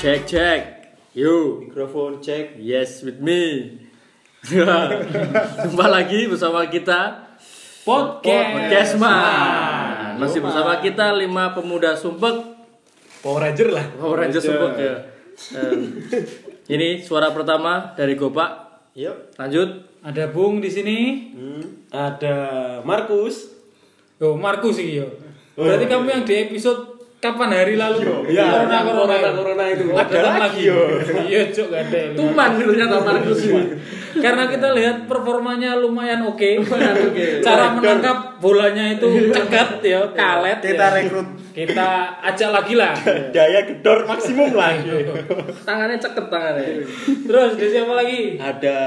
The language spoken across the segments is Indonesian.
Cek cek. Yo. Mikrofon cek. Yes with me. Jumpa lagi bersama kita Podcast Man. Masih Yo, Man. bersama kita lima pemuda sumpek Power Ranger lah. Power Ranger Ranger. sumpek ya. Eh, ini suara pertama dari Gopak. Yuk. Lanjut. Ada Bung di sini. Hmm. Ada Markus. Yo, Markus sih yo. Berarti kamu yang di episode kapan hari lalu? Iya, corona, yang corona, corona, corona itu. Ada, Ada lagi, lagi. yo. Iya, cok gak ada. ini. Tuman ternyata Markus ini. Karena kita lihat performanya lumayan oke. Cara menangkap bolanya itu cekat ya, kalet. kita ya. rekrut Kita ajak lagi lah. Daya gedor maksimum lah. Tangannya ceket tangannya. Terus di siapa lagi? Ada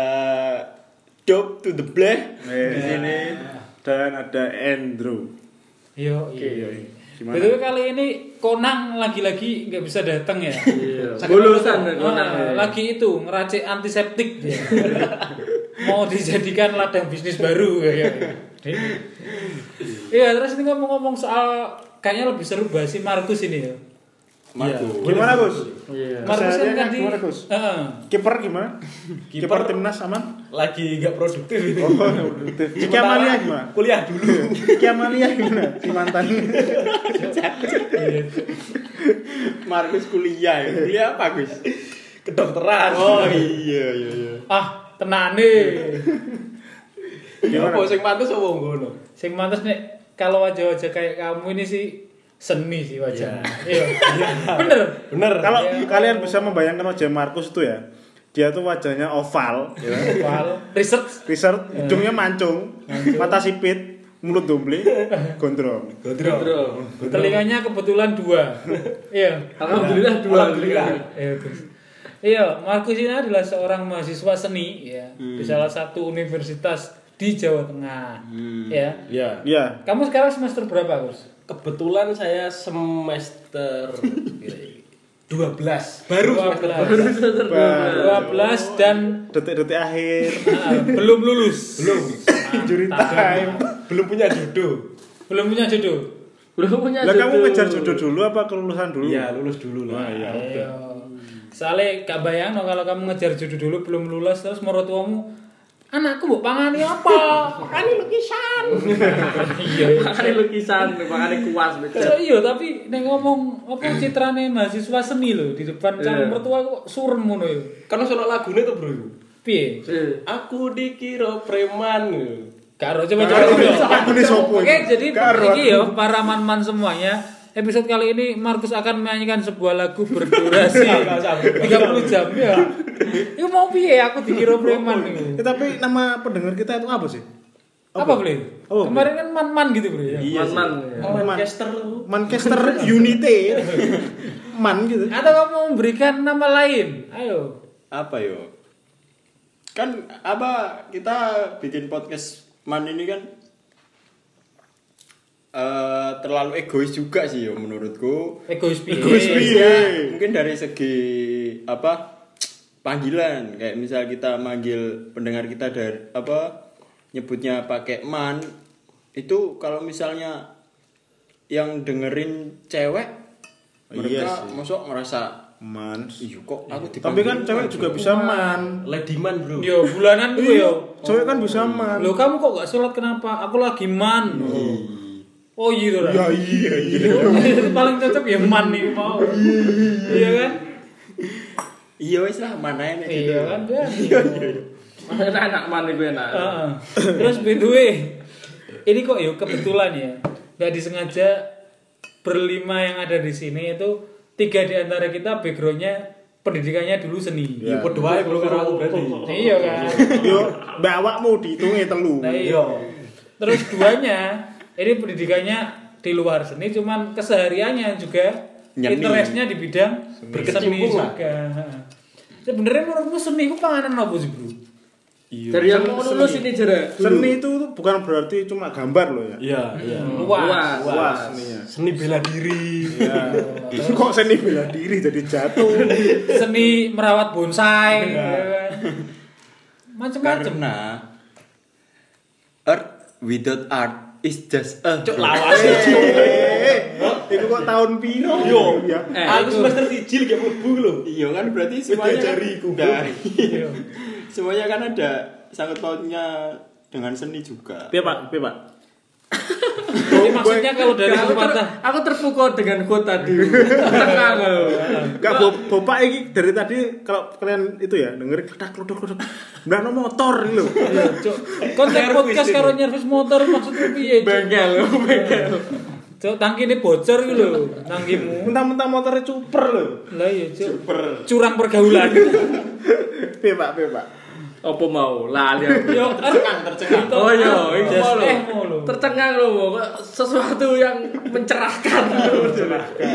Job to the black. eh, di sini dan ada Andrew. Yo, iya. Gimana? Betul kali ini Konang lagi-lagi nggak bisa datang ya. Iya. Saking Bolosan lagi- dari Konang, Ah, Iya. ya. lagi itu ngeracik antiseptik dia. Mau dijadikan ladang bisnis baru kayaknya. Iya, terus ini ngomong-ngomong soal kayaknya lebih seru bahas si Markus ini ya. Markus. Gimana Gus? Iya. Markus kan Kesehariannya tadi gimana, Gus? Heeh. Kiper gimana? Kiper timnas aman? Lagi nggak produktif ini. Oh, produktif. Ciki Sementara Amalia gimana? Kuliah dulu. Ciki Amalia gimana? Si mantan. Iya. Markus kuliah. ya. Kuliah apa, Gus? Kedokteran. Oh iya iya iya. Ah, tenane. Gimana? Iya. Apa sing pantes apa ngono? Sing mantas nih kalau wajah-wajah kayak kamu ini sih seni sih wajahnya. Iya. Bener. Bener. Kalau Iya. kalian bisa membayangkan wajah Markus itu ya, dia tuh wajahnya oval, ya. Soal research Riset, hidungnya mancung, mata sipit, mulut dombli, gondrong. Godrol. Bro. telinganya kebetulan dua iya Alhamdulillah dua. Alhamdulillah. Iya, Gus. iya Markus ini adalah seorang mahasiswa seni ya Hmm. di salah satu universitas di Jawa Tengah ya Ya. Iya. kamu sekarang semester berapa Gus Kebetulan saya semester 12 baru 12 Ba- 12 dan Detik-detik akhir, ah, belum lulus belum injury time. belum punya jodoh belum punya jodoh Belum punya Lah kamu jodoh. ngejar jodoh dulu apa kelulusan dulu? iya lulus dulu lah iya iya soalnya gak bayang no, kalau kamu ngejar jodoh dulu belum lulus terus menurut tuamu anakku mau pangani apa pangani lukisan iya Makanya lukisan, makanya kuas becet. Terus iya tapi nek ngomong apa citrane mahasiswa seni lho di depan Iya. calon mertua kok surem ngono yo. karena soal lagunya tuh bro Piye? Eh. aku dikira preman Karo coba coba. Aku nih sopo Oke, ini. jadi Karo. ini yo para man-man semuanya. Episode kali ini Markus akan menyanyikan sebuah lagu berdurasi 30 jam ya. Iku mau piye aku dikira preman Eh, iku. tapi nama pendengar kita itu apa sih? Apa boleh? Apa, Iya, Bre? Kemarin kan man-man gitu, Bro. ya. Man-man. ya. Oh, Manchester lu Manchester United. Man gitu. Atau kamu memberikan nama lain? Ayo. apa yo kan apa kita bikin podcast man ini kan eh, terlalu egois juga sih yo menurutku Egois piye? Egois piye? Iya, mungkin dari segi apa panggilan kayak misal kita manggil pendengar kita dari apa nyebutnya pakai man itu kalau misalnya yang dengerin cewek mereka Iya sih. masuk ngerasa Man. iya kok aku Tapi dipanggil kan man, cewek bro." juga bisa man. lady man bro Yo, bulanan gue yo. Cewek kan bisa man. Loh kamu kok gak sholat kenapa? Aku lagi man. Oh iya Dora. Ya iya iya. Itu paling cocok ya man nih mau. Iya kan? iya wes lah mana ya nek gitu Iya kan dia. Makanya anak mana gue enak. Heeh. Terus by the way, ini kok yuk kebetulan ya. Gak disengaja berlima yang ada di sini itu tiga di antara kita backgroundnya pendidikannya dulu seni. ya podo wae bro karo aku berarti Iya kan? Yo, mbak awakmu dihitungi telu. Nah, iya. Terus duanya, ini pendidikannya di luar seni, cuman kesehariannya juga Nyeni. interestnya di bidang berseni Berkecimpung lah. juga. Sebenarnya menurutmu seni itu panganan apa sih bro? Dari yang mau lulus ini jere. Seni itu tuh bukan berarti cuma gambar loh ya. iya iya Luas. Luas seninya. seni bela diri Ya. Kok seni bela diri jadi jatuh? Seni merawat bonsai, ya kan? macam-macam. karena art without art It's just a Cuk lawas ya. Itu kok tahun pino? Yo, ya. Eh, aku itu. semester siji lagi mlebu lho. Iya kan berarti Semuanya semuanya jari ku. Nah, iya. semuanya kan ada sangkut pautnya dengan seni juga. Piye, Pak? Piye, Pak? Jadi maksudnya kalau dari aku, satu ter, patah aku terpukul dengan quote tadi. Tenang aku. Enggak, bapak ini dari tadi kalau kalian itu ya dengerin kledak kledak kledak. Belano motor ini lho. Iya, Cuk. Konten Nyervis podcast ini. karo nyervis motor maksudnya piye, Cuk? Iya. Bengkel, bengkel. Cuk, tangki ini bocor gitu lho, tangkimu. Mentah-mentah motornya cuper lho. Lah iya, Cuk. Curang pergaulan. Piye, Pak? Piye, Pak? Apa mau? Lali aku. Yo, eh. tercengang, tercengang. Oh iya, ini Just mau lo. Iya. eh mau lo. Tercengang lo, Mo. sesuatu yang mencerahkan.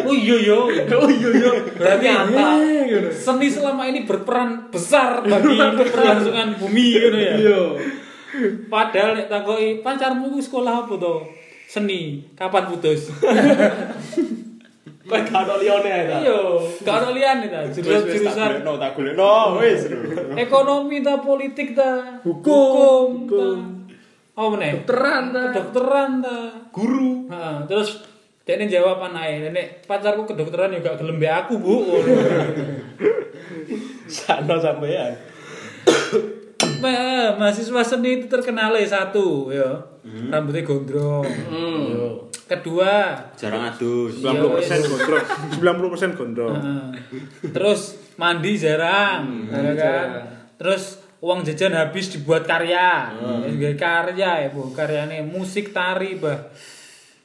Oh iya yo. Oh iya iya. Berarti apa? Iya, gitu. Seni selama ini berperan besar bagi keberlangsungan bumi gitu ya. Iya. Padahal nek takoki pacarmu ku sekolah apa to? Seni. Kapan putus? Kowe gak ono liyane ta. Iya, gak ono liyane ta. Wis, wis, tak Jurusan golekno, tak golekno, wis. ekonomi ta, politik ta, Hukum, hukum ta. Apa meneh? Teran ta. Kedokteran ta. Guru. Heeh, terus Dekne jawab anake, nek pacarku kedokteran juga gelem mbek aku, Bu. Sakno sampean. Ma- mahasiswa seni itu terkenal ya satu ya rambutnya gondrong Hmm. kedua Jarang adus. 90% gondrong. 90% gondrong. eh, terus mandi jarang ya kan? terus uang jajan habis dibuat karya Ya, karya ya bu karyanya musik tari bah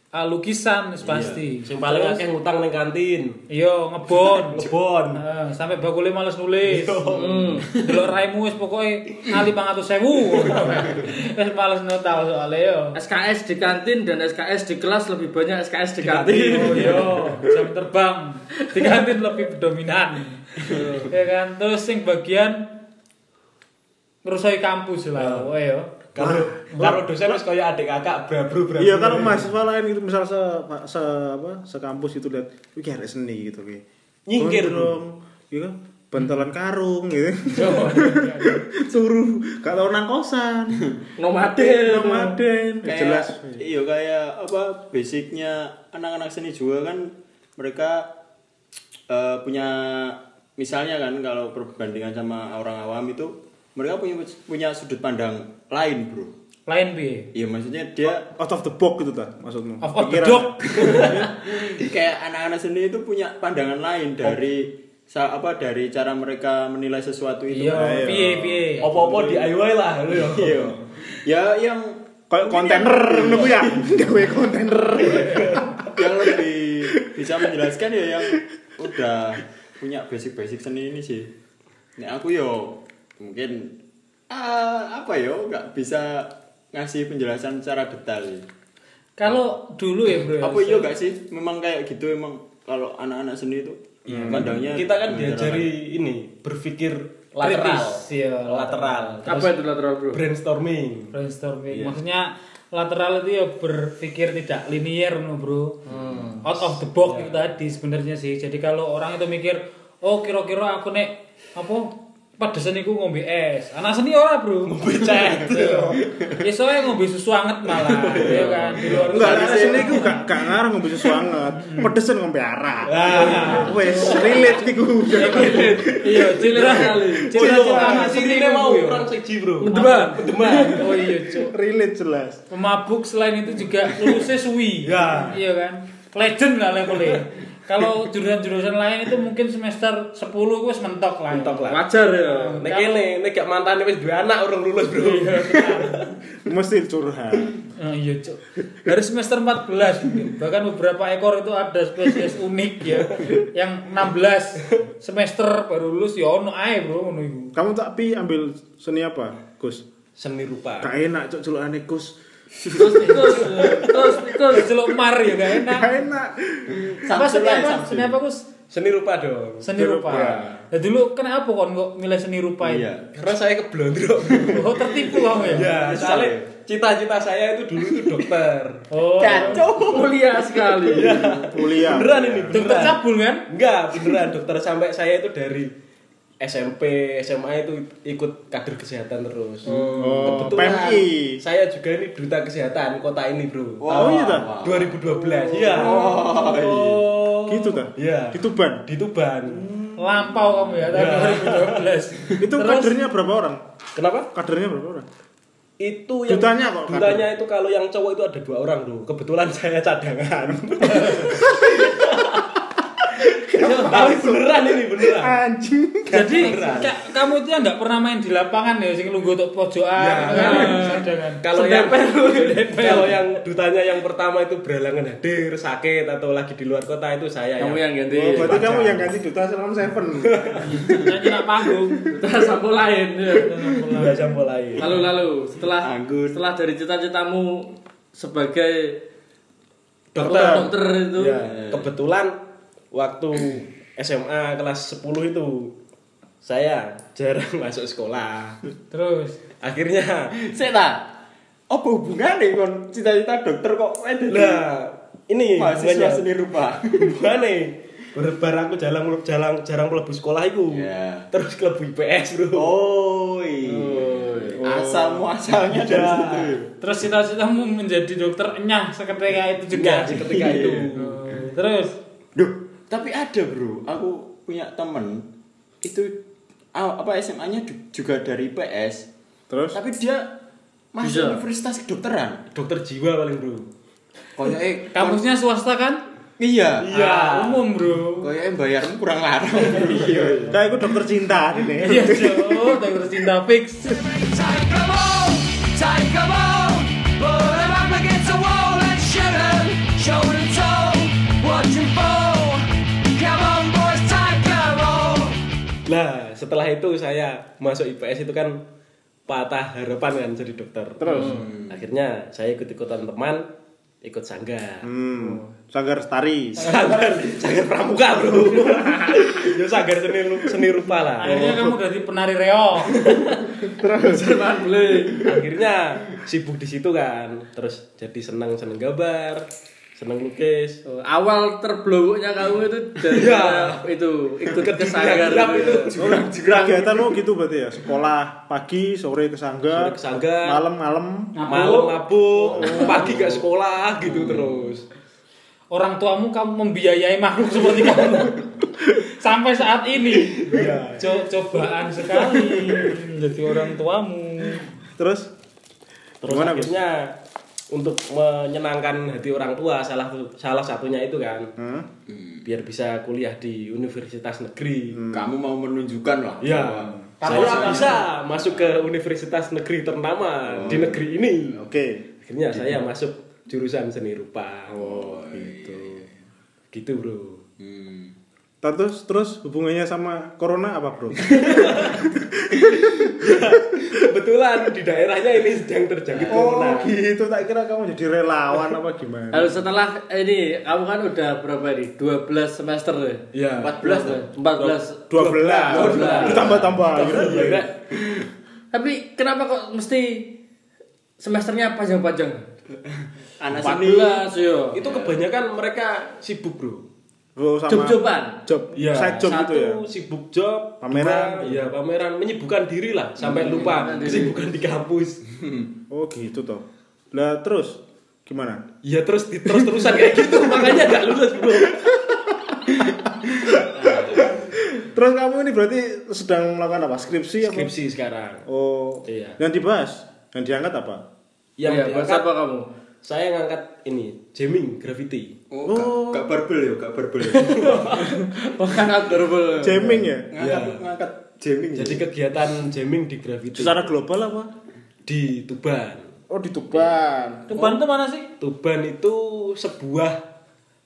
Ah, lukisan wis pasti Sing paling Terus, akeh ngutang ning kantin. Iya ngebon Lebon. Eh, sampai bakule males nulis. Hmm. Delok raimu wis pokoke ngali 500.000. Wis males notau soalnya yo. SKS di kantin dan SKS di kelas lebih banyak SKS di kantin. Oh iya, jam terbang di kantin lebih dominan. ya kan, terus sing bagian ngerusoi kampus lah, oh iya. Karo karo dosen wis kaya adik kakak brabru brabru. Iya kalau mahasiswa lain gitu misal se, se apa sekampus gitu lihat wih kayak ada seni gitu kayak Nyingkir. dong gitu bentolan karung gitu suruh gak tau nang kosan Nomaden. nomaden Kayak- jelas Iya kayak apa basicnya anak-anak seni juga kan mereka eh, punya misalnya kan kalau perbandingan sama orang awam itu mereka punya punya sudut pandang lain, Bro. Lain piye? Iya maksudnya dia out of the box gitu ta maksudmu Of of the Pikiran. dog. kayak anak-anak seni itu punya pandangan lain dari sa- apa dari cara mereka menilai sesuatu itu Iya, piye piye. Apa-apa di DIY lah lho ya. Iya. ya yang kayak kontainer nunggu ya gawe kontainer yang lebih bisa menjelaskan ya yang udah punya basic-basic seni ini sih nah aku yo mungkin ah, apa yo nggak bisa ngasih penjelasan secara detail Kalau dulu ya, Bro. apa iya nggak sih memang kayak gitu emang kalau anak-anak seni itu pandangnya Kita kan beneran. diajari ini berpikir lateral. Kritis, iya. lateral. Apa itu lateral, Bro? Brainstorming. brainstorming. Maksudnya lateral itu ya berpikir tidak linier no, Bro. Out of the box itu tadi sebenarnya sih. Jadi kalau orang itu mikir, "Oh, kira-kira aku nek apa pedesan iku ngombe es." Anak seni ora, Bro. Ngombe cet. Ya soalnya ngombe susu anget malah, ya kan. Di luar enggak anak seni itu gak gak ngarang ngombe banget pedesan ngombe arah wes relate iku Iya, cilira kali. Cilira anak seni ini mau iku, yo. orang siji, Bro. Mendebar. Demak. Oh iya, Cuk. relate jelas pemabuk selain itu juga lulusnya suwi Ya. iya kan legend lah levelnya kalau jurusan-jurusan lain itu mungkin semester 10 gue mentok lah Mentok lah. Wajar ya. Nek kene, nek gak mantane wis duwe anak urung lulus, Bro. mesti curhat Eh, iya cuk dari semester 14 mungkin. bahkan beberapa ekor itu ada spesies unik ya yang 16 semester baru lulus ya ono ae bro ngono iku Kamu tak pi ambil seni apa, Gus? Seni rupa. Gak enak cok celukane Gus. Terus terus terus terus. celok mar ya gak enak Gak enak. apa seni Samsul lah, apa Samsul. seni apa Gus? Seni rupa dong. seni rupa nah dulu kenapa kon kok milih seni rupa iya itu Karena saya keblondrok. oh tertipu kamu ya Ya, soalnya cita-cita saya itu dulu itu dokter. oh Mulia sekali. Kuliah. Beneran ini, Dokter beneran. cabul kan? Enggak, beneran dokter sampai saya itu dari SMP, SMA itu ikut kader kesehatan terus. Oh, Kebetulan PMI. saya juga ini duta kesehatan kota ini, Bro. Oh, iya ta? 2012. Iya. Gitu ta? Iya. Di Tuban. Di Tuban. Lampau kamu ya tahun 2012. Itu kadernya berapa orang? Kenapa? Kadernya berapa orang? Itu Dutanya kok, kader? Dutanya itu kalau yang cowok itu ada dua orang, Bro. Kebetulan saya cadangan. Iya, Tapi beneran Nah, ini beneran. Anjing. Jadi Beneran. ka- kamu itu yang nggak pernah main di lapangan ya sing lungguh tok pojokan. kan? Ya. Cadangan. Kalau yang Sedempel. kalau yang dutanya yang pertama itu berhalangan hadir, sakit atau lagi di luar kota itu saya Kamu yang ganti. Oh, berarti Wajar. kamu yang ganti duta Salam Seven. nyanyi nak panggung. Terus aku lain. ya. dua jam mulai. Lalu lalu setelah Anggun. setelah dari cita-citamu sebagai Dokter. dokter itu Ya, kebetulan waktu SMA kelas 10 itu saya jarang masuk sekolah. Terus Akhirnya Sik ta? Apa hubungannya kon cita-cita dokter kok eh dadi nah ini mahasiswa hubungannya seni rupa? hubungannya berbar aku jalan jalan jarang mlebu sekolah itu Ya. terus kelebu IPS bro Oh, asal muasalnya dari Ya. situ. terus cita-citamu menjadi dokter enyah seketika itu juga. Oh, Nah, ketika itu Terus Duh, tapi ada bro, aku punya temen itu ah, apa SMA-nya du- juga dari PS, Terus tapi dia masuk Bisa. universitas kedokteran. dokter jiwa paling bro Koyok eh kampusnya swasta kan? iya, Iya, umum, Bro. koyoknya bayarmu kurang larang. kayak aku dokter cinta ini. Iya, Jo, dokter cinta fix. Nah, setelah itu saya masuk IPS itu kan patah harapan kan jadi dokter. Terus? Hmm. akhirnya saya ikut-ikutan teman, ikut sanggar. Hmm. Sanggar Stari. Sanggar, sanggar pramuka, Bro. ya sanggar seni lu- seni rupa lah. Akhirnya kamu dari penari reo. Jerman boleh. Akhirnya sibuk di situ kan. Terus jadi senang-senang gambar, senang lukis. Awal terblowoknya kamu itu dari Iya. itu ikut gitu ya. ke Sanggar sanggar itu jurang Kegiatanmu gitu berarti ya. Sekolah pagi, sore ke sanggar, Sore ke sanggar. malam-malam. Malam mabuk, pagi gak sekolah gitu terus. Orang tuamu kamu membiayai makhluk seperti kamu. Sampai saat ini. Co- cobaan sekali menjadi orang tuamu. Terus Terus Gimana, Gus? akhirnya untuk menyenangkan hati orang tua salah salah satunya itu kan Hmm? biar bisa kuliah di universitas negeri. Kamu mau menunjukkan lah. Iya. Kalau Saya bisa masuk ke universitas negeri ternama di negeri ini. Oke. Akhirnya saya masuk jurusan seni rupa. Oh, gitu. Gitu, Bro. Hmm. Terus terus hubungannya sama corona apa, Bro? Kebetulan di daerahnya ini sedang terjangkit Oh, corona. gitu. Tak kira kamu jadi relawan apa gimana. Lalu setelah ini kamu kan udah berapa nih? 12 semester ya? Iya. 14 ya? 14. 12. Ditambah-tambah gitu. Enggak. Tapi kenapa kok mesti semesternya panjang-panjang? iya. Anak seni. 14 yo. Itu kebanyakan mereka sibuk, Bro. Bro, sama Job-joban. job. Iya, Side job satu gitu ya. sibuk job, Pameran. dua, ya pameran menyibukkan diri lah sampai lupa Menyibukkan diri. kesibukan di kampus. Oh, gitu toh. Lah terus gimana? Ya terus terus terusan kayak gitu makanya gak lulus bro. Terus kamu ini berarti sedang melakukan apa? Skripsi, apa? Skripsi sekarang. Oh. Iya. Yang dibahas, yang diangkat apa? Yang Iya, bahas diangkat, apa kamu? saya ngangkat ini jamming graffiti. Oh, gak- gak barbel ya, gak barbel. Bukan adorable. Jamming ya? ngangkat ngangkat jamming. ya? Jadi kegiatan jamming di graffiti Secara global apa? di Tuban. Oh, di Tuban. Tuban itu mana sih? Tuban itu sebuah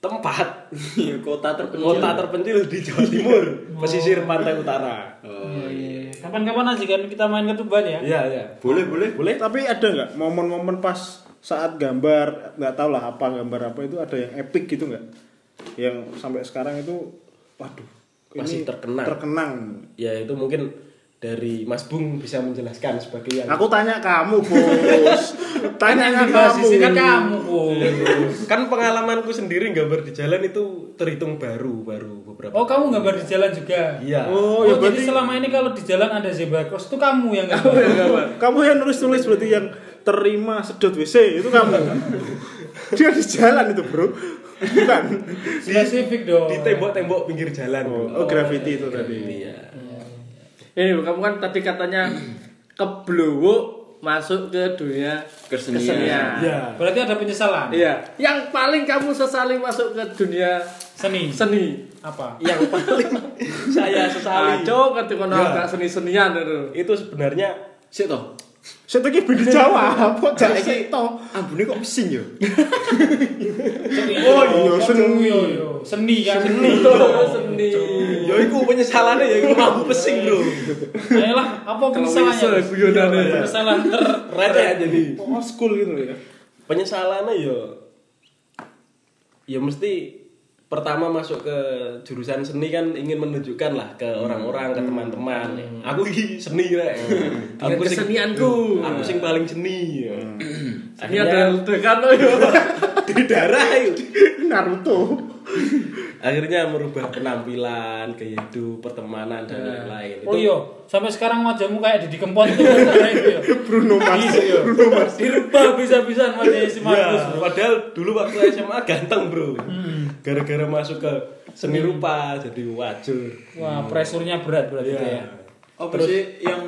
tempat Iya, kota terpencil. kota terpencil di Jawa Timur, pesisir pantai utara. Oh, iya. Kapan-kapan aja kan kita main ke Tuban ya. Iya, iya. Boleh, boleh. Boleh? Tapi ada nggak momen-momen pas saat gambar nggak tau lah apa gambar apa itu ada yang epic gitu nggak? Yang sampai sekarang itu, waduh, Masih terkenang. Terkenang. ya itu mungkin dari Mas Bung bisa menjelaskan sebagai yang Aku tanya kamu, Bos. yang tanya dibahas di kamu. sini kan kamu Bos. kan pengalamanku sendiri gambar di jalan itu terhitung baru baru beberapa Oh kamu gambar di jalan juga? iya Oh, Oh, ya jadi berarti selama ini kalau di jalan ada zebra cross itu kamu yang gambar. kamu yang nulis-nulis berarti yang terima sedot WC itu kamu. Dia di jalan itu, Bro. Bukan. Spesifik dong. di tembok-tembok pinggir jalan Oh, graffiti itu tadi. iya Ini kamu kan tadi katanya kebluwuk masuk ke dunia Kesenian. kesenian. iya Berarti ada penyesalan. Iya. Yang paling kamu sesali masuk ke dunia Seni. seni. Ah, Apa? Yang paling saya sesali kacau ketika Iya. nonton kan seni-senian itu. itu sebenarnya Sik toh. Saya tuh ben dijawab, kok cak gitu. iki toh. Ambune kok mesin ya? yo. Oh iya, seni. Seni kan seni. seni. ya itu penyesalannya ya itu mampu pesing bro Ayolah, apa penyesalannya? Kalau bisa, guyonan Iya, aja. Penyesalan ter receh jadi Old school gitu ya. penyesalannya ya ya mesti pertama masuk ke jurusan seni kan ingin menunjukkan lah ke orang-orang ke teman-teman aku ini seni rek Dengan sing- Hmm. kesenianku. aku sing paling seni ya. Hmm. Ini ada ledekan loh. yo. di darah yuk. Naruto. akhirnya merubah penampilan gaya hidup pertemanan dan lain-lain Oh iya, sampai sekarang wajahmu kayak Didi Kempot itu. Bruno Mars. Bruno Mars. Dirubah bisa-bisa wajahnya si Markus. Ya, padahal dulu waktu SMA ganteng bro gara-gara masuk ke seni rupa jadi wajur Wah, presurnya berat berarti Iya. itu ya. Apa sih yang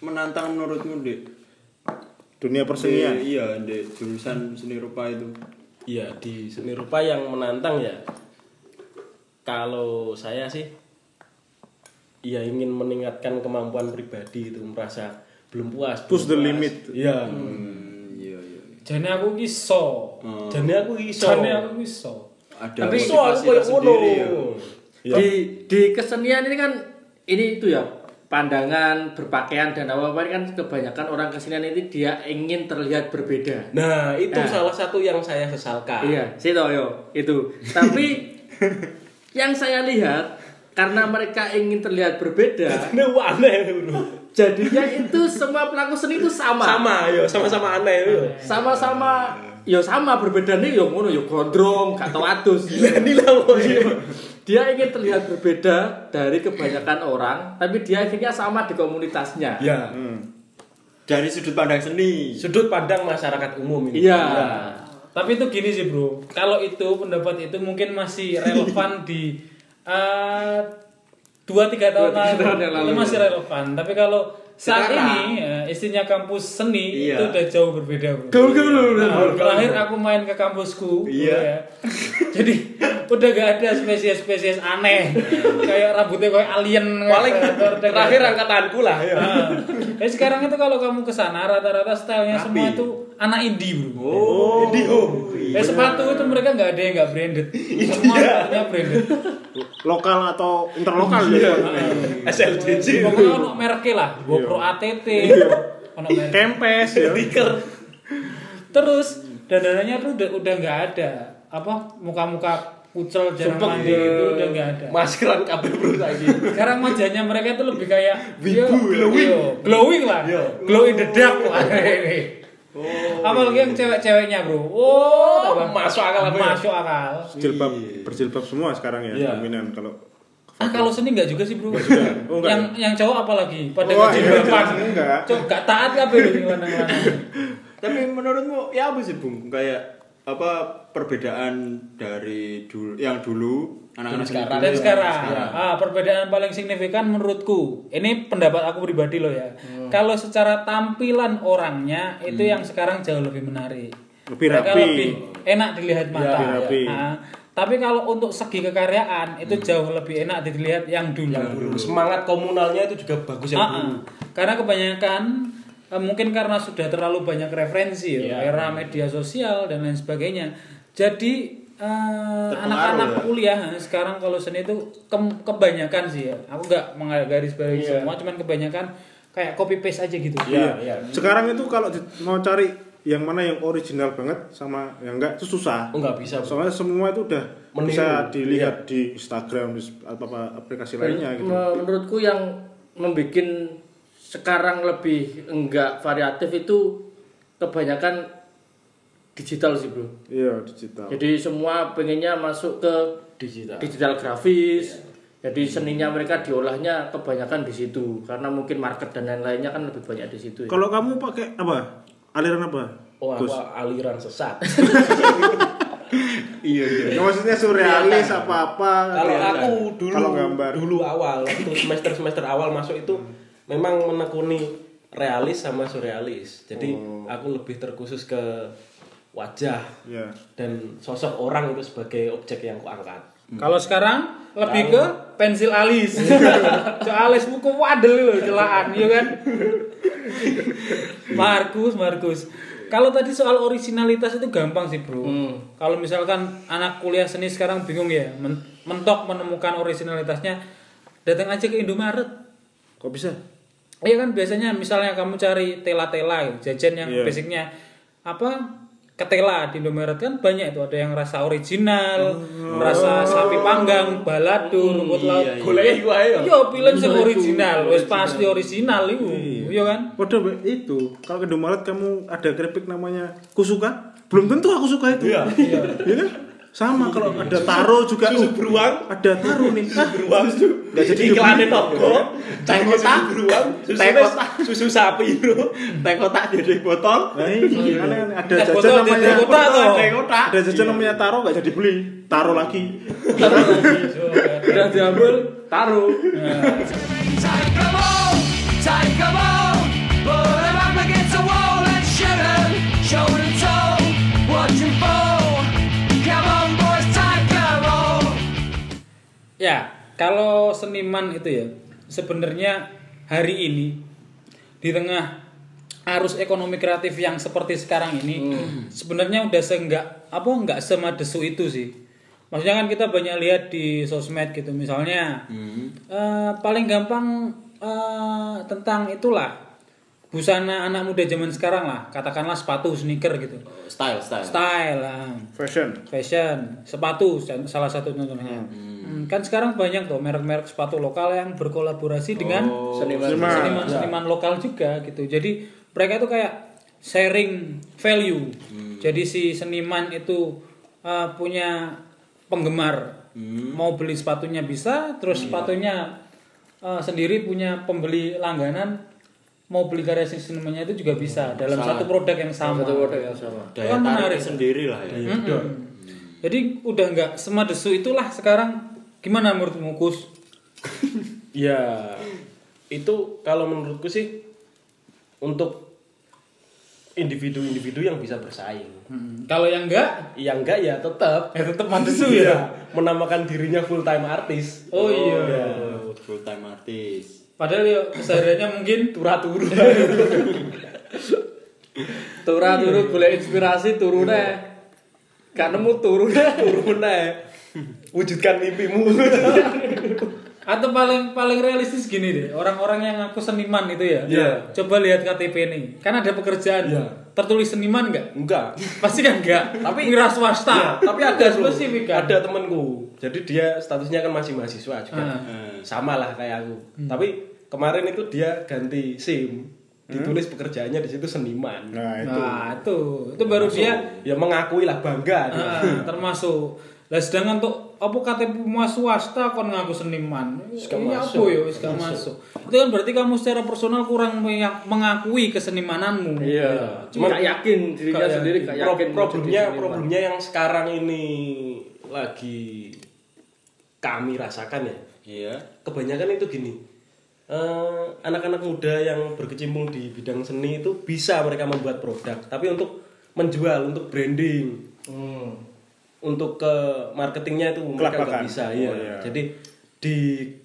menantang menurutmu, Dek? Dunia persenian. Di- Iya, Dek, jurusan seni rupa itu. Iya di seni rupa yang menantang ya kalau saya sih ya ingin meningkatkan kemampuan pribadi itu merasa belum puas belum Push the puas. limit. iya Hmm, iya, iya. Jadi aku iso. jadi aku iso Jadi aku iso. Ada tapi iso aku motivasi kayak ngono tersendiri ya. Iya. Di di kesenian ini kan ini itu ya pandangan, berpakaian dan apa-apa ini kan kebanyakan orang kesenian ini dia ingin terlihat berbeda. nah itu Nah. salah satu yang saya sesalkan Iya, situ yo itu. Tapi yang saya lihat karena mereka ingin terlihat berbeda, ini aku aneh bro jadinya itu semua pelaku seni itu sama. Iya. sama yo sama-sama aneh yo Sama-sama yo sama berbeda nih yo ngono yo gondrong, gak tau atus. ini lah pokoknya. Dia ingin terlihat berbeda dari kebanyakan orang, tapi dia akhirnya sama di komunitasnya. ya Dari sudut pandang seni. sudut pandang masyarakat umum ini Iya. Tapi itu gini sih bro, kalau itu pendapat itu mungkin masih relevan di eh, dua tiga tahun Dua, tiga tahun yang lalu lalu. ya. itu masih relevan. Tapi kalau saat Sekarang. ini eh, istrinya kampus seni Iya. itu udah jauh berbeda bro. Gaul, gaul, gaul, Nah, gaul, gaul. terakhir aku main ke kampusku, Iya. ya. jadi udah gak ada spesies-spesies aneh kayak rambutnya kayak alien. paling kayak predator, udah gak terakhir ada. angkatanku lah ya Nah, eh, sekarang itu kalau kamu ke sana rata-rata stylenya semua itu anak indie bro. oh Iya. di Eh sepatu itu mereka nggak ada yang nggak branded. Semua sepatunya branded. Lokal atau interlokal Iya. ya. SLDJ Pokoknya ono mereknya lah, Iya. GoPro ATT, ono merek. Kempes ya. Terus dandanannya tuh udah udah nggak ada. Apa muka-muka kucel jarang mandi itu udah nggak ada. maskeran kabel bro lagi Sekarang wajahnya mereka itu lebih kayak yo, ya. glowing, Iya. glowing lah, glowing the dark lah Oh. ini. Apalagi yang cewek-ceweknya bro, oh, tambah iya. masuk akal apa ya? masuk akal. Jilbab Iya. berjilbab semua sekarang ya Iya. dominan kalau Ah kalau seni enggak juga sih bro. Oh, enggak yang yang cowok apalagi pada Wah, gaji iya, berapa? jelas enggak. Cowok enggak taat kabeh lu gimana mana. Tapi menurutmu ya apa sih Bung? Kayak apa perbedaan dari dulu yang dulu anak-anak seni dulu Dan sama sekarang, ah, perbedaan paling signifikan menurutku, ini pendapat aku pribadi loh ya. Kalau secara tampilan orangnya itu yang sekarang jauh lebih menarik. Lebih Mereka rapi. Iya, lebih enak dilihat mata. lebih rapi. Ah, tapi kalau untuk segi kekaryaan itu jauh lebih enak dilihat Hmm. yang dulu. semangat komunalnya itu juga bagus ya Ah, bro ah. Karena kebanyakan eh, mungkin karena sudah terlalu banyak referensi Iya. ya, era media sosial dan lain sebagainya. Jadi eh, ya. anak-anak kuliah eh, sekarang kalau seni itu ke- kebanyakan sih ya. Aku nggak menggaris bawahi semua, cuman kebanyakan kayak copy paste aja gitu. iya. Sekarang itu kalau di- mau cari yang mana yang original banget sama yang enggak itu susah. Oh, nggak bisa bro Soalnya semua itu udah Meniru. bisa Nah. dilihat di Instagram di apa, apa aplikasi lainnya gitu. Menurutku yang membuat sekarang lebih enggak variatif itu kebanyakan digital sih bro. Iya, digital. Jadi semua pengennya masuk ke digital. Iya. digital grafis. Jadi seninya mereka diolahnya kebanyakan di situ karena mungkin market dan lain-lainnya kan lebih banyak di situ. Ya. Kalau kamu pakai apa? Aliran apa? Oh, aku aliran sesat. iya iya Ya, maksudnya surrealis apa apa? Kalau aku dulu Kalau gambar. dulu awal waktu semester-semester awal masuk itu memang menekuni realis sama surrealis. Jadi Oh. aku lebih terkhusus ke wajah Iya. dan sosok orang itu sebagai objek yang kuangkat. Kalau sekarang lebih ke pensil alis. Cok alismu kok wadel lho celaan, ya kan? Markus, Markus. Kalau tadi soal originalitas itu gampang sih, Bro. Kalau misalkan anak kuliah seni sekarang bingung ya, men- mentok menemukan originalitasnya, datang aja ke Indomaret. Kok bisa? Iya kan biasanya misalnya kamu cari tela-tela gitu, jajan yang Iya. basicnya apa ketela di Indomaret kan banyak itu ada yang rasa original, rasa sapi panggang, balado, rumput laut. Goleknya iku ae ya. Iya, pilihan sing original, wis pasti original iku. Iya kan? Waduh, Mbak, itu kalau ke Indomaret kamu ada keripik namanya kusuka? Belum tentu aku suka itu. Iya. kan? Sama kalau ada taro juga susu beruang, ada taro nih. Ah, Beruang itu Nggak jadi iklannya dibeli. Iya. nogo, teh kotak beruang, susu, susu sapi bro, teh kotak jadi botol, Nah, ini kan ada Teh jajan botol, namanya teh kotak, toh. teh kotak. Ada jajan namanya taro nggak jadi beli, taro lagi. Udah diambil, taruh. Ya, kalau seniman itu ya, sebenarnya hari ini di tengah arus ekonomi kreatif yang seperti sekarang ini, sebenarnya udah seenggak apa enggak semadesu itu sih. Maksudnya kan kita banyak lihat di sosmed gitu, misalnya eh, paling gampang eh, tentang itulah busana anak muda zaman sekarang lah, katakanlah sepatu sneaker gitu, Oh. Style, style. style ah. lah Fashion. fashion sepatu salah satu contohnya Hmm, kan sekarang banyak tuh merek-merek sepatu lokal yang berkolaborasi dengan Oh, Seniman. Iya. seniman-seniman lokal juga gitu jadi mereka itu kayak sharing value Hmm. jadi si seniman itu uh, punya penggemar Hmm. mau beli sepatunya bisa Iya. terus sepatunya uh, sendiri punya pembeli langganan mau beli karya si senimannya itu juga bisa dalam satu produk yang sama Satu produk yang sama. Kan daya menarik. tarik sendiri lah ya Mm-mm. Jadi udah nggak semadesu itulah sekarang gimana menurutmu Kus? Iya. Ya, itu kalau menurutku sih untuk individu-individu yang bisa bersaing. Kalau yang enggak Yang enggak ya tetap ya tetap madesu ya. menamakan dirinya full time artis. Oh iya. Oh, full time artis Padahal ya kesehariannya mungkin Turu-turu. Turah turu Iya. boleh inspirasi turunnya. Gak nemu turunnya. Turun aja. Wujudkan mimpimu. atau paling paling realistis gini deh orang-orang yang ngaku seniman itu ya. Iya. Coba lihat KTP nih kan ada pekerjaan Iya. tertulis seniman nggak? Enggak. Pasti kan nggak. Tapi wira Ya, swasta. tapi ada bro. spesifik kan. Ada temanku. Jadi dia statusnya kan masih mahasiswa juga. Ah. Sama lah kayak aku. Tapi kemarin itu dia ganti SIM. Ditulis pekerjaannya di situ seniman. Nah, itu. Nah itu itu baru dia ya mengakui lah bangga gitu. dia. Ah, termasuk lah sedangkan untuk apa KTP mu swasta kon ngaku seniman Suka ini apa masuk. ya wis gak masuk. itu kan berarti kamu secara personal kurang meng- mengakui kesenimananmu Iya. Cuma Cuman- gak yakin dirinya Gak sendiri gak Pro- yakin. mau problemnya jadi seniman. problemnya yang sekarang ini lagi kami rasakan ya iya kebanyakan itu gini Eh, anak-anak muda yang berkecimpung di bidang seni itu bisa mereka membuat produk tapi untuk menjual untuk branding Hmm. untuk ke marketingnya itu mereka nggak Kelabakan. bisa Oh, iya. iya. jadi di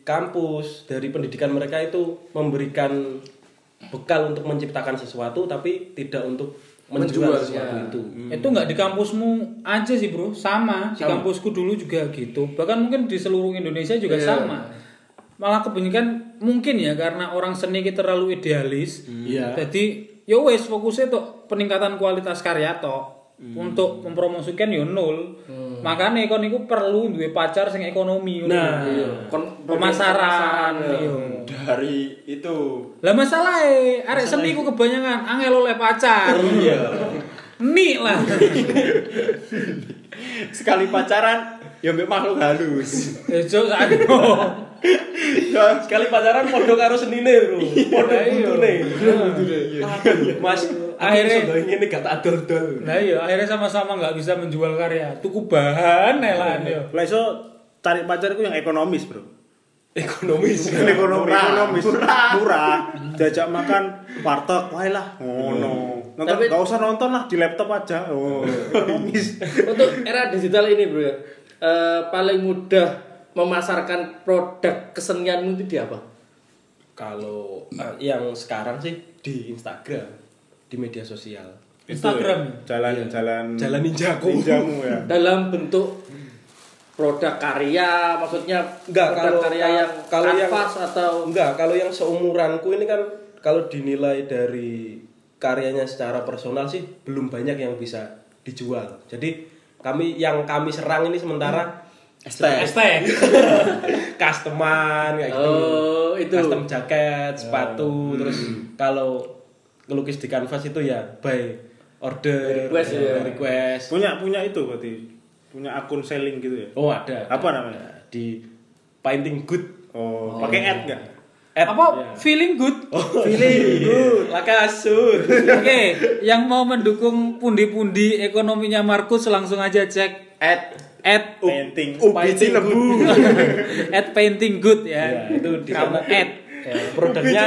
kampus dari pendidikan mereka itu memberikan bekal untuk menciptakan sesuatu tapi tidak untuk menjual, Menjual, sesuatu iya. ya. itu itu nggak di kampusmu aja sih bro sama, di kampusku dulu juga gitu bahkan mungkin di seluruh Indonesia juga sama malah kebanyakan mungkin ya karena orang seni kita terlalu idealis Iya. jadi ya wes fokusnya tuh peningkatan kualitas karya toh untuk mempromosikan yo nol. Makanya kon niku perlu duwe pacar sing ekonomi ngono. Nah, iya. Kon- pemasaran iya. iya. dari itu Lah masalahe arek seni ku kebanyakan angel oleh pacar. Iya. Nik lah. sekali pacaran ya mbek makhluk halus Eh, Cuk, sakno. ya Sekali pacaran podo karo senine, Bro. Podo buntune. Mas, Akhirnya- akhirnya ngene gak tak dol-dol. Nah iya, akhirnya sama-sama nggak bisa menjual karya. Tuku bahan ya kan, iya. elan Iya, yo. Lah iso tarik pacar iku yang ekonomis, Bro. Ekonomis. Bukan ekonomi, ekonomis. Murah. Jajak makan warteg wae lah. Ngono. Nonton Tapi- nggak usah nonton lah di laptop aja. Oh, ekonomis. Untuk era digital ini bro ya, eh, paling mudah memasarkan produk kesenian itu di apa? Kalau eh, yang sekarang sih di Instagram, di media sosial. iya. Instagram. Jalan jalan Jalan ninjaku. ninjamu ya. Dalam bentuk produk karya, maksudnya produk Enggak, kalau- karya yang kalau yang- kanvas atau Enggak, kalau yang seumuranku ini kan kalau dinilai dari karyanya secara personal sih belum banyak yang bisa dijual. Jadi kami yang kami serang ini sementara estek Hashtag. customan kayak gitu. Oh, itu. Custom jaket, sepatu, terus kalau ngelukis di kanvas itu ya by order, Request ya. by request. Punya punya itu berarti. Punya akun selling gitu ya. Oh, ada. Apa namanya? Di painting good. Oh, pakai ad enggak? At- Apa feeling good? Oh. Feeling good. Lakasur. Oke, yang mau mendukung pundi-pundi ekonominya Markus langsung aja cek at at Oh. Painting. ubi cilebu at painting good Ya, ya. itu di sana Kamu at. Ya, produknya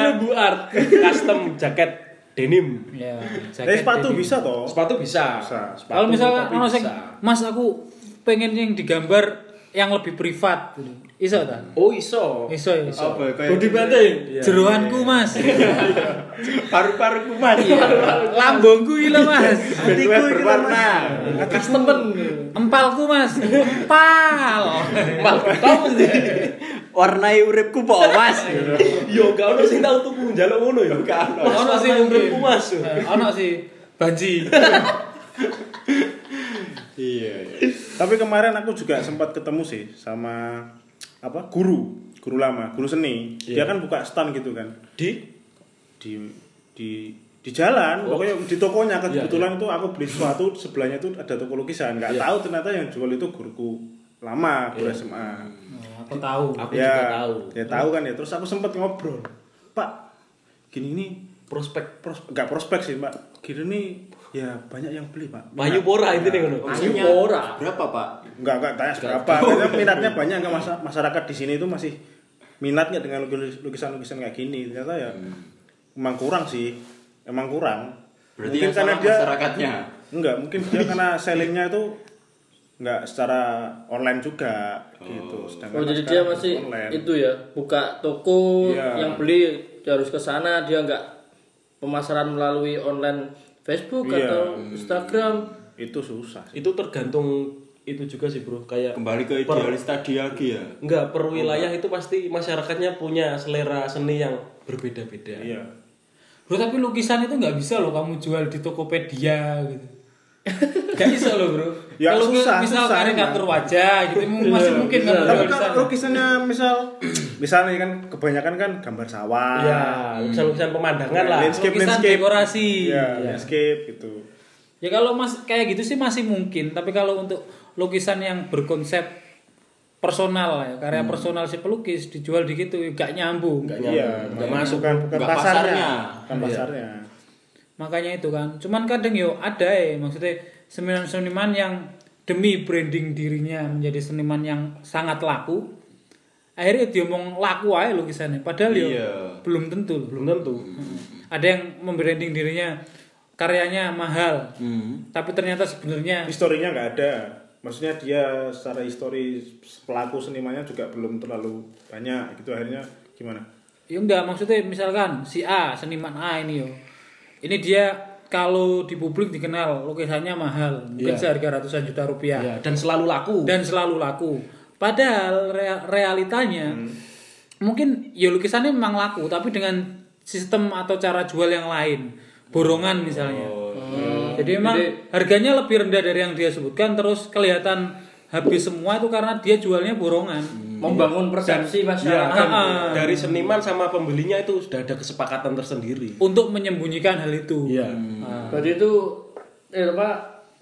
custom jaket denim. Ya, Tapi jaket Eh, sepatu jadi- bisa toh. Eh, Sepatu bisa. Bisa. Sepatu, Kalau misalnya topi ono sing, bisa. Mas aku pengen yang digambar yang lebih privat. Gitu. Iso ta? Oh iso. Iso ya. apa kayak body painting. Jeroanku, Mas. paru-paru kuman Lambungku gila, Mas. bentuknya berwarna Customer. Empalku, Mas. Empal. warnai uripku po mas Yo gak ono sing tau tuku njaluk ngono yo gak ono. Ono sih uripku mungkin. Mas. Eh, Ono sih banji. iya Tapi kemarin aku juga sempat ketemu sih sama apa guru, guru lama, guru seni. Iya. Dia kan buka stand gitu kan Di di di di jalan, Oh. pokoknya di tokonya kan Iya, kebetulan itu aku beli sesuatu sebelahnya itu ada toko lukisan. Nggak tahu ternyata yang jual itu guruku lama, guru SMA. Aku tahu. Iya. aku ya, juga tahu. Ya tahu kan ya. Terus aku sempat ngobrol, Pak, gini nih Prospek pros, nggak prospek sih Pak. Gini nih ya banyak yang beli Pak. Nah, Mayu Pora itu nih ngono. Maksudnya ora. berapa pak Enggak, enggak tanya seberapa. Karena minatnya banyak enggak masa- masyarakat di sini itu masih minatnya dengan lukis- lukisan-lukisan kayak gini. Ternyata ya emang kurang sih. Emang kurang. Hmm. berarti mungkin yang karena salah dia masyarakatnya enggak, mungkin dia karena sellingnya itu enggak secara online juga gitu. Sedangkan Oh, jadi sekarang dia masih online. itu ya, buka toko Iya. yang beli dia harus ke sana, dia nggak pemasaran melalui online Facebook Iya. atau Hmm. Instagram. itu susah sih. Itu tergantung itu juga sih, Bro. Kayak kembali ke per- idealis tadi lagi ya Enggak, per wilayah itu pasti masyarakatnya punya selera seni yang berbeda-beda. Iya. Bro, tapi lukisan itu nggak bisa loh kamu jual di Tokopedia gitu. Gak bisa loh bro. Ya, Kalau susah, misal susah iya. karikatur wajah gitu masih mungkin Tapi kan jual di sana. kalau lukisannya misal misalnya kan kebanyakan kan gambar sawah. Ya, lukisan-lukisan pemandangan Iya lah. Landscape, Lukisan landscape. dekorasi. Iya, landscape gitu. Ya kalau mas kayak gitu sih masih mungkin, tapi kalau untuk lukisan yang berkonsep personal ya, karya personal si pelukis dijual di gitu gak nyambung. Iya, Hmm. Nggak nggak masuk. bukan, bukan Nggak pasarnya. pasarnya. Bukan pasarnya. Makanya itu kan. Cuman kadang yo ada ya maksudnya seniman seniman yang demi branding dirinya menjadi seniman yang sangat laku. Akhirnya dia ngomong laku aja lukisannya, padahal yo Iya. belum tentu loh. Belum tentu. Ada yang membranding dirinya karyanya mahal, hmm. tapi ternyata sebenarnya Historinya nggak ada. Maksudnya dia secara histori pelaku senimannya juga belum terlalu banyak gitu akhirnya gimana? Ya enggak, maksudnya misalkan si A, seniman A ini yo. Ini dia kalau di publik dikenal lukisannya mahal, mungkin Iya. seharga ratusan juta rupiah Ya, dan selalu laku. dan selalu laku. Padahal rea- realitanya Hmm. mungkin ya lukisannya memang laku, Oh, iya. tapi dengan sistem atau cara jual yang lain, borongan misalnya. Jadi memang harganya lebih rendah dari yang dia sebutkan terus kelihatan habis semua itu karena dia jualnya borongan. Hmm. Ah, membangun persepsi Ya, masyarakat kan dari seniman sama pembelinya itu sudah ada kesepakatan tersendiri. Untuk menyembunyikan hal itu. Iya. berarti itu eh, apa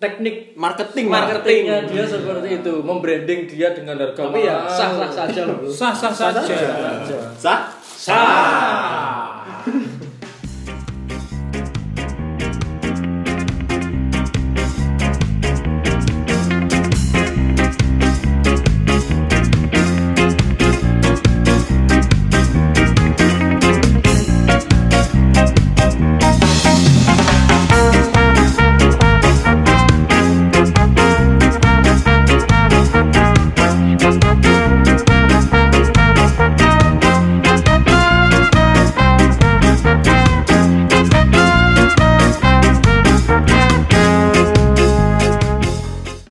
teknik Marketing, marketingnya dia seperti itu membranding dia dengan harga Tapi ya mahal. sah-sah saja loh. Sah-sah saja. Sah.